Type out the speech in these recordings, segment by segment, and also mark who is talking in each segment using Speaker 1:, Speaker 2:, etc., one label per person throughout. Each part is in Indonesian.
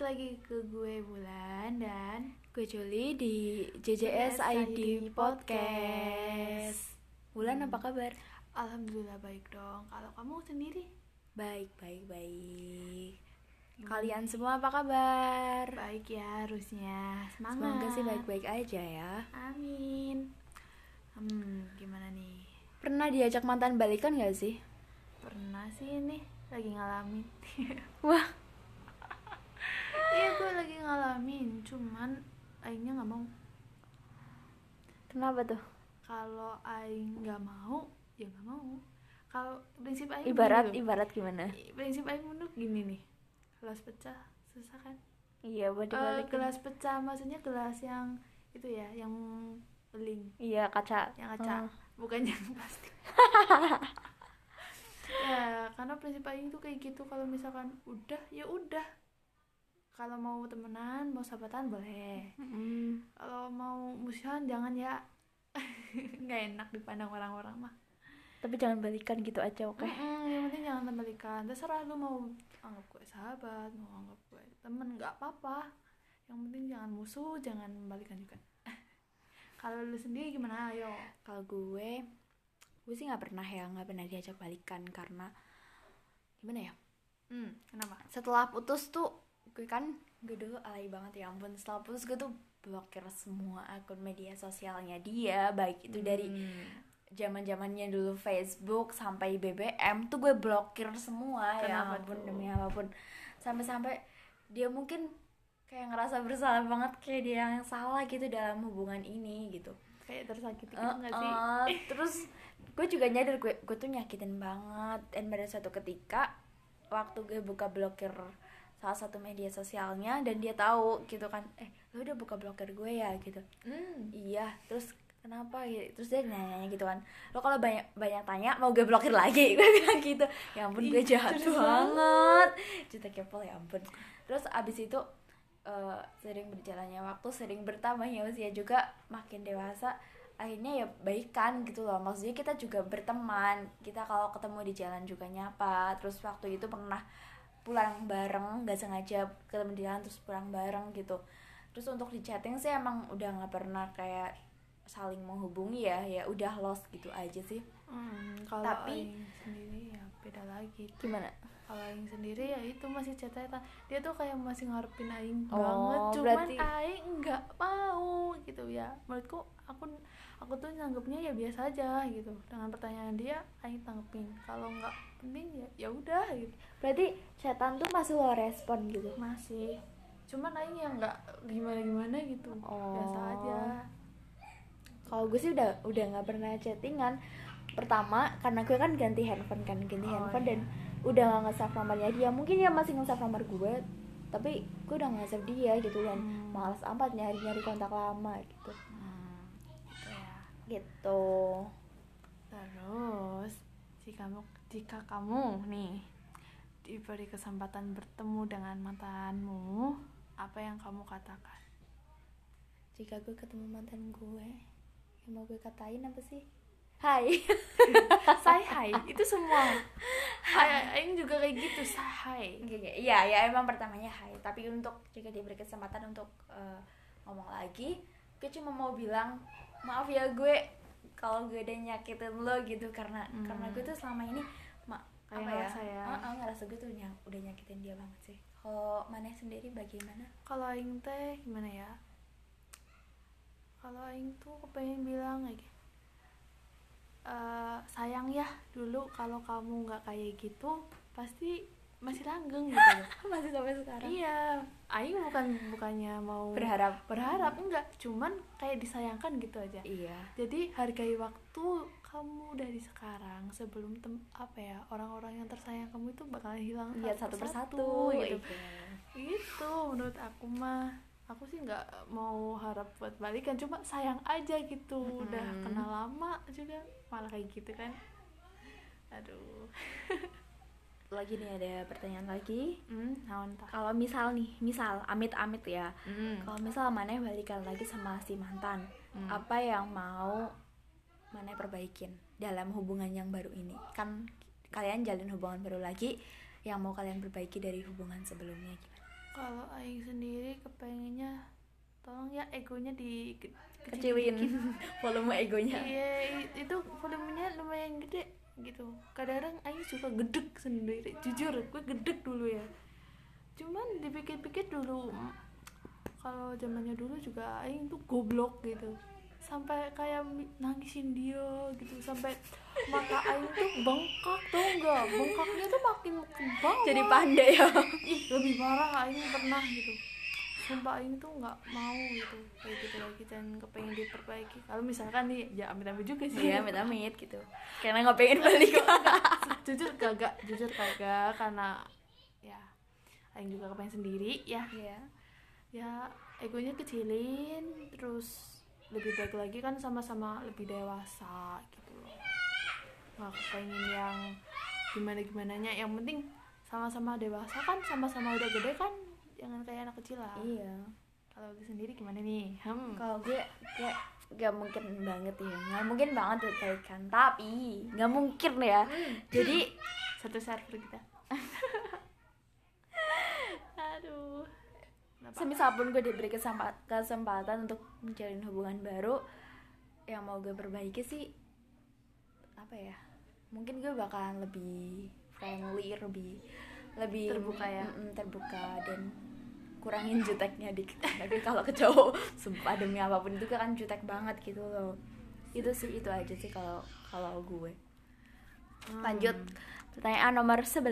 Speaker 1: lagi ke gue Bulan dan
Speaker 2: Gue Joli di JJS ID Podcast. Bulan apa kabar?
Speaker 1: Alhamdulillah baik dong. Kalau kamu sendiri
Speaker 2: Baik, baik, baik. Kalian semua apa kabar?
Speaker 1: baik ya harusnya. Semangat.
Speaker 2: Semoga sih baik-baik aja ya.
Speaker 1: Amin. Hmm, gimana nih?
Speaker 2: Pernah diajak mantan balikan gak sih?
Speaker 1: Pernah sih ini lagi ngalamin.
Speaker 2: Wah,
Speaker 1: Iya gue lagi ngalamin, cuman akhirnya nggak mau.
Speaker 2: kenapa tuh?
Speaker 1: Kalau Aing nggak mau, ya nggak mau. Kalau prinsip Aing
Speaker 2: Ibarat,
Speaker 1: gini loh.
Speaker 2: ibarat gimana?
Speaker 1: prinsip Aing menurut gini nih, gelas pecah susah kan?
Speaker 2: Iya, buat
Speaker 1: Eh,
Speaker 2: dibalikin.
Speaker 1: gelas pecah maksudnya gelas yang itu ya, yang beling,
Speaker 2: Iya, kaca.
Speaker 1: yang kaca,
Speaker 2: Oh.
Speaker 1: bukan yang plastik. ya karena prinsip Aing tuh kayak gitu kalau misalkan udah ya udah kalau mau temenan mau sahabatan boleh
Speaker 2: Mm.
Speaker 1: kalau mau musuhan jangan ya nggak enak dipandang orang-orang mah
Speaker 2: Tapi jangan balikan gitu aja, oke?
Speaker 1: Mm-mm, yang penting jangan membalikan terserah lu mau anggap gue sahabat mau anggap gue temen nggak apa-apa yang penting jangan musuh jangan membalikan juga kalau lu sendiri gimana ayo
Speaker 2: kalau gue gue sih nggak pernah ya nggak pernah diajak balikan karena gimana ya
Speaker 1: hmm, kenapa
Speaker 2: setelah putus tuh gue kan gue dulu alay banget ya ampun setelah putus gue tuh blokir semua akun media sosialnya dia baik itu dari
Speaker 1: Hmm.
Speaker 2: zaman zamannya dulu Facebook sampai BBM tuh gue blokir semua
Speaker 1: Kenapa
Speaker 2: ya ampun
Speaker 1: tuh?
Speaker 2: demi apapun sampai-sampai dia mungkin kayak ngerasa bersalah banget kayak dia yang salah gitu dalam hubungan ini gitu
Speaker 1: kayak tersakiti gitu
Speaker 2: Eh,
Speaker 1: nggak sih
Speaker 2: eh, terus gue juga nyadar gue gue tuh nyakitin banget dan pada suatu ketika waktu gue buka blokir salah satu media sosialnya dan dia tahu gitu kan eh lo udah buka blokir gue ya gitu
Speaker 1: hmm.
Speaker 2: iya terus kenapa gitu terus dia nanya gitu kan lo kalau banyak banyak tanya mau gue blokir lagi gue bilang gitu ya ampun gue
Speaker 1: Ih,
Speaker 2: jahat
Speaker 1: serius
Speaker 2: banget juta kepo ya ampun terus abis itu eh, sering berjalannya waktu sering bertambahnya usia juga makin dewasa akhirnya ya baikan gitu loh maksudnya kita juga berteman kita kalau ketemu di jalan juga nyapa terus waktu itu pernah pulang bareng nggak sengaja ketemu di jalan terus pulang bareng gitu terus untuk di chatting sih emang udah nggak pernah kayak saling menghubungi ya ya udah lost gitu aja sih
Speaker 1: Hmm, kalau
Speaker 2: Tapi-
Speaker 1: Aing sendiri ya beda lagi
Speaker 2: gimana
Speaker 1: kalau Aing sendiri ya itu masih cetetan dia tuh kayak masih ngarepin Aing
Speaker 2: Oh,
Speaker 1: banget cuman
Speaker 2: berarti-
Speaker 1: Aing nggak mau gitu ya menurutku aku aku tuh nyanggepnya ya biasa aja gitu dengan pertanyaan dia Aing tanggepin kalau nggak penting ya ya udah gitu
Speaker 2: berarti chatan tuh masih lo respon gitu
Speaker 1: masih cuman Aing yang nggak gimana gimana gitu biasa
Speaker 2: Oh.
Speaker 1: aja
Speaker 2: kalau gue sih udah udah nggak pernah chattingan pertama karena gue kan ganti handphone kan ganti
Speaker 1: Oh,
Speaker 2: handphone
Speaker 1: iya.
Speaker 2: dan udah nggak nge-save nomornya dia Ya, mungkin dia masih nge-save nomor gue tapi gue udah nggak save dia gitu dan
Speaker 1: Hmm.
Speaker 2: malas amat nyari nyari kontak lama gitu
Speaker 1: Hmm, gitu ya
Speaker 2: gitu
Speaker 1: Terus, jika kamu, jika kamu nih diberi kesempatan bertemu dengan mantanmu, apa yang kamu katakan?
Speaker 2: jika gue ketemu mantan gue yang mau gue katain apa sih Hai
Speaker 1: Say hi, itu semua. Ay- Aing juga kayak gitu, say hi.
Speaker 2: Oke, oke. Iya, ya emang pertamanya hai. Tapi untuk jika diberi kesempatan untuk eh, ngomong lagi, gue cuma mau bilang maaf ya gue kalau gue udah nyakitin lo gitu karena
Speaker 1: Hmm.
Speaker 2: karena gue tuh selama ini ma,
Speaker 1: Kayak
Speaker 2: apa ya?
Speaker 1: ngerasa ya.
Speaker 2: Heeh, ngerasa gue tuh yang udah nyakitin dia banget sih. Kalau mana sendiri bagaimana?
Speaker 1: Kalau Aing teh gimana ya? Kalau Aing tuh kepengen bilang kayak "Eh, sayang ya dulu kalau kamu nggak kayak gitu pasti masih langgeng gitu loh.
Speaker 2: Masih sampai sekarang.
Speaker 1: Iya, Aing bukan bukannya mau
Speaker 2: Berharap.
Speaker 1: berharap enggak, cuman kayak disayangkan gitu aja.
Speaker 2: Iya.
Speaker 1: Jadi hargai waktu kamu dari sekarang sebelum tem- apa ya orang-orang yang tersayang kamu itu bakalan hilang
Speaker 2: Lihat Iya, satu persatu
Speaker 1: gitu.
Speaker 2: gitu.
Speaker 1: Gitu menurut aku mah. Aku sih nggak mau harap buat balikan, cuma sayang aja gitu. Udah
Speaker 2: Mm-mm.
Speaker 1: kenal lama juga malah kayak gitu kan. Aduh.
Speaker 2: Lagi nih ada pertanyaan lagi.
Speaker 1: Hmm, naon tah.
Speaker 2: Kalau misal nih, misal amit-amit ya.
Speaker 1: Hmm.
Speaker 2: Kalau misal Maneh balikan lagi sama si mantan,
Speaker 1: Hmm.
Speaker 2: apa yang mau Maneh perbaikin dalam hubungan yang baru ini? Kan kalian jalin hubungan baru lagi, yang mau kalian perbaiki dari hubungan sebelumnya gimana?
Speaker 1: kalau aing sendiri kepengennya tolong ya egonya di ke-
Speaker 2: kecilin
Speaker 1: dikit.
Speaker 2: volume egonya
Speaker 1: iya i- itu volumenya lumayan gede gitu kadang aing suka gedek sendiri jujur gue gedek dulu ya cuman dipikir-pikir dulu mm, kalau zamannya dulu juga aing tuh goblok gitu sampai kayak mi- nangisin dia gitu sampai mata aing tuh bengkak tuh enggak bengkaknya tuh makin ke bawah
Speaker 2: jadi pandai ya
Speaker 1: ih lebih parah Aing pernah gitu sumpah Aing tuh nggak mau gitu kayak gitu lagi dan kepengen diperbaiki kalau misalkan nih ya amit-amit juga sih
Speaker 2: iya amit amit gitu karena nggak pengen balikan
Speaker 1: jujur kagak jujur kagak karena ya Aing juga kepengen sendiri ya
Speaker 2: iya
Speaker 1: ya egonya kecilin terus lebih baik lagi kan sama-sama lebih dewasa gitu loh nggak kepengen yang gimana gimananya yang penting sama-sama dewasa kan sama-sama udah gede kan jangan kayak anak kecil lah
Speaker 2: iya
Speaker 1: kalau lu sendiri gimana nih hmm.
Speaker 2: kalau gue gue gak mungkin banget ya nggak mungkin banget balikan tapi nggak mungkin ya jadi
Speaker 1: satu server kita aduh Kenapa?
Speaker 2: semisal pun gue diberi kesempa- kesempatan untuk menjalin hubungan baru yang mau gue perbaiki sih apa ya mungkin gue bakalan lebih friendly lebih lebih
Speaker 1: Terbuka ya?
Speaker 2: Mm-mm, terbuka dan kurangin juteknya dikit tapi kalau ke cowok sumpah demi apapun itu kan jutek banget gitu loh itu sih itu aja sih kalau kalau gue
Speaker 1: Hmm.
Speaker 2: lanjut pertanyaan nomor 11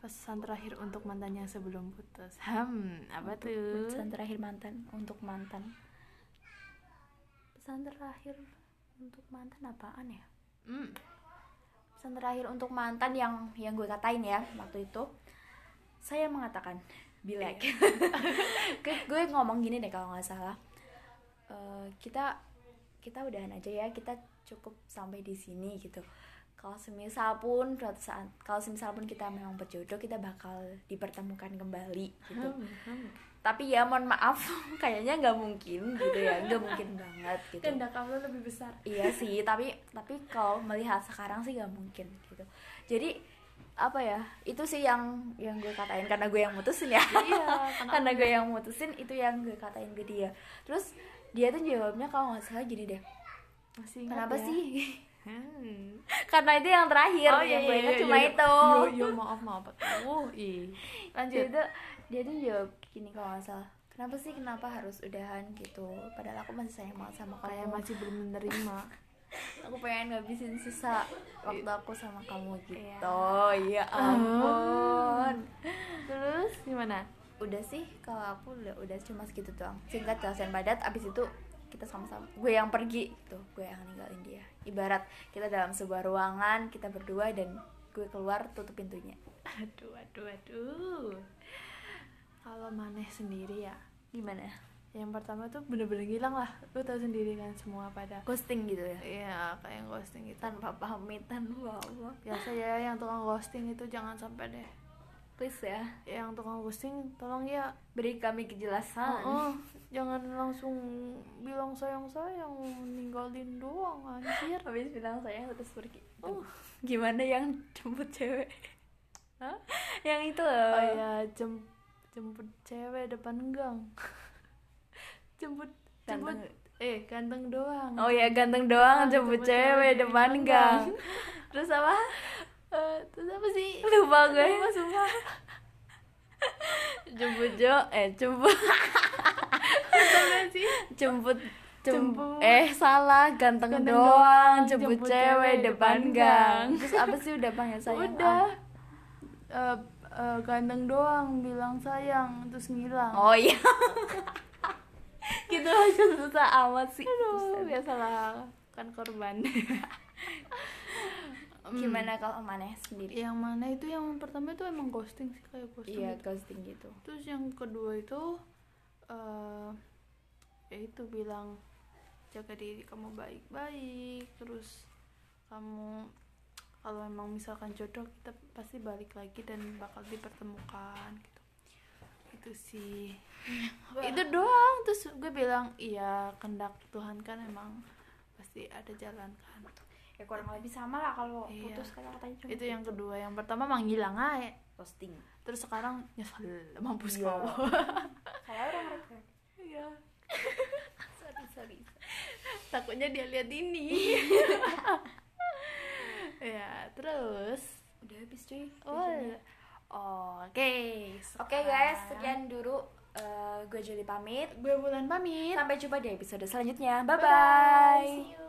Speaker 1: pesan terakhir untuk mantannya sebelum putus hmm apa tuh
Speaker 2: pesan terakhir mantan untuk mantan pesan terakhir untuk mantan apaan ya
Speaker 1: Hmm.
Speaker 2: pesan terakhir untuk mantan yang yang gue katain ya waktu itu saya mengatakan bilek Ke- gue ngomong gini deh kalau nggak salah Eh, kita kita udahan aja ya kita cukup sampai di sini gitu kalau semisal pun suatu saat kalau semisal pun kita memang berjodoh kita bakal dipertemukan kembali gitu
Speaker 1: Hmm, hmm.
Speaker 2: tapi ya mohon maaf kayaknya nggak mungkin gitu ya nggak mungkin banget gitu
Speaker 1: Kendak kamu lebih besar
Speaker 2: iya sih tapi tapi kalau melihat sekarang sih nggak mungkin gitu jadi apa ya itu sih yang yang gue katain karena gue yang mutusin ya
Speaker 1: iya
Speaker 2: karena gue yang mutusin itu yang gue katain ke dia terus dia tuh jawabnya kalau nggak salah gini deh
Speaker 1: masih ingat
Speaker 2: kenapa
Speaker 1: ya?
Speaker 2: sih
Speaker 1: hmm.
Speaker 2: karena itu yang terakhir
Speaker 1: Oh, iya,
Speaker 2: yang gue
Speaker 1: iya,
Speaker 2: ingat
Speaker 1: iya,
Speaker 2: cuma
Speaker 1: iya.
Speaker 2: itu
Speaker 1: Yo, yo, maaf maaf uh ih
Speaker 2: Dia
Speaker 1: lanjut
Speaker 2: tuh dia tuh jawab gini kalau nggak salah kenapa sih kenapa harus udahan gitu padahal aku masih sayang banget sama kamu
Speaker 1: kayak masih belum menerima
Speaker 2: aku pengen ngabisin sisa waktu aku sama kamu
Speaker 1: Iya. Ah.
Speaker 2: gitu ya ampun
Speaker 1: terus gimana
Speaker 2: udah sih kalau aku udah udah cuma segitu doang singkat jelas dan padat abis itu kita sama-sama gue yang pergi gitu gue yang ninggalin dia ibarat kita dalam sebuah ruangan kita berdua dan gue keluar tutup pintunya
Speaker 1: aduh aduh aduh kalau maneh sendiri ya
Speaker 2: gimana
Speaker 1: yang pertama tuh bener-bener hilang lah lu tahu sendiri kan semua pada
Speaker 2: ghosting gitu ya
Speaker 1: iya kayak ghosting gitu
Speaker 2: tanpa pamit tanpa apa
Speaker 1: biasa ya yang tukang ghosting itu jangan sampai deh
Speaker 2: please ya
Speaker 1: yang tukang ghosting tolong ya
Speaker 2: beri kami kejelasan
Speaker 1: Heeh, jangan langsung bilang sayang sayang ninggalin doang anjir
Speaker 2: habis bilang saya terus pergi
Speaker 1: Oh.
Speaker 2: gimana yang jemput cewek
Speaker 1: Hah?
Speaker 2: yang itu loh
Speaker 1: oh ya jem- jemput cewek depan gang jemput jemput
Speaker 2: Ganteng.
Speaker 1: eh ganteng doang
Speaker 2: Oh ya ganteng
Speaker 1: Ah,
Speaker 2: doang jemput
Speaker 1: jemput
Speaker 2: cewek
Speaker 1: cewek
Speaker 2: depan
Speaker 1: depan
Speaker 2: gang
Speaker 1: gang.
Speaker 2: terus apa
Speaker 1: Eh, terus apa sih
Speaker 2: lupa gue
Speaker 1: Lupa, sumpah.
Speaker 2: jemput jo eh jemput
Speaker 1: Apa sih
Speaker 2: jemput jem-
Speaker 1: Jemput.
Speaker 2: eh salah ganteng,
Speaker 1: Ganteng doang,
Speaker 2: doang jemput, cewek depan gang terus apa sih udah panggil sayang
Speaker 1: udah
Speaker 2: ah.
Speaker 1: Eh, eh, ganteng doang bilang sayang terus ngilang
Speaker 2: oh iya gitu aja susah amat sih
Speaker 1: aduh
Speaker 2: Buset.
Speaker 1: biasalah kan korban
Speaker 2: gimana kalau maneh sendiri
Speaker 1: Hmm, yang mana itu yang pertama itu emang ghosting sih kayak ghosting
Speaker 2: iya
Speaker 1: gitu.
Speaker 2: ghosting gitu
Speaker 1: terus yang kedua itu eh ya itu bilang jaga diri kamu baik-baik terus kamu kalau memang misalkan jodoh kita pasti balik lagi dan bakal dipertemukan gitu itu sih itu
Speaker 2: Ah.
Speaker 1: doang terus gue bilang iya kendak Tuhan kan emang pasti ada jalan kan
Speaker 2: ya kurang lebih sama lah kalau
Speaker 1: Iya.
Speaker 2: putus kata-katanya cuma
Speaker 1: itu yang kedua yang pertama menghilang aja
Speaker 2: roasting
Speaker 1: terus sekarang nyesel mampus
Speaker 2: Iya.
Speaker 1: kau
Speaker 2: kalau orang mereka
Speaker 1: iya
Speaker 2: sorry sorry
Speaker 1: takutnya dia lihat ini ya terus
Speaker 2: udah habis cuy
Speaker 1: oh
Speaker 2: videonya.
Speaker 1: oke
Speaker 2: iya. oke guys sekian dulu eh, gue Juli pamit
Speaker 1: gue bulan pamit
Speaker 2: Iya. sampai jumpa di episode selanjutnya bye bye,
Speaker 1: Bye-bye. See you.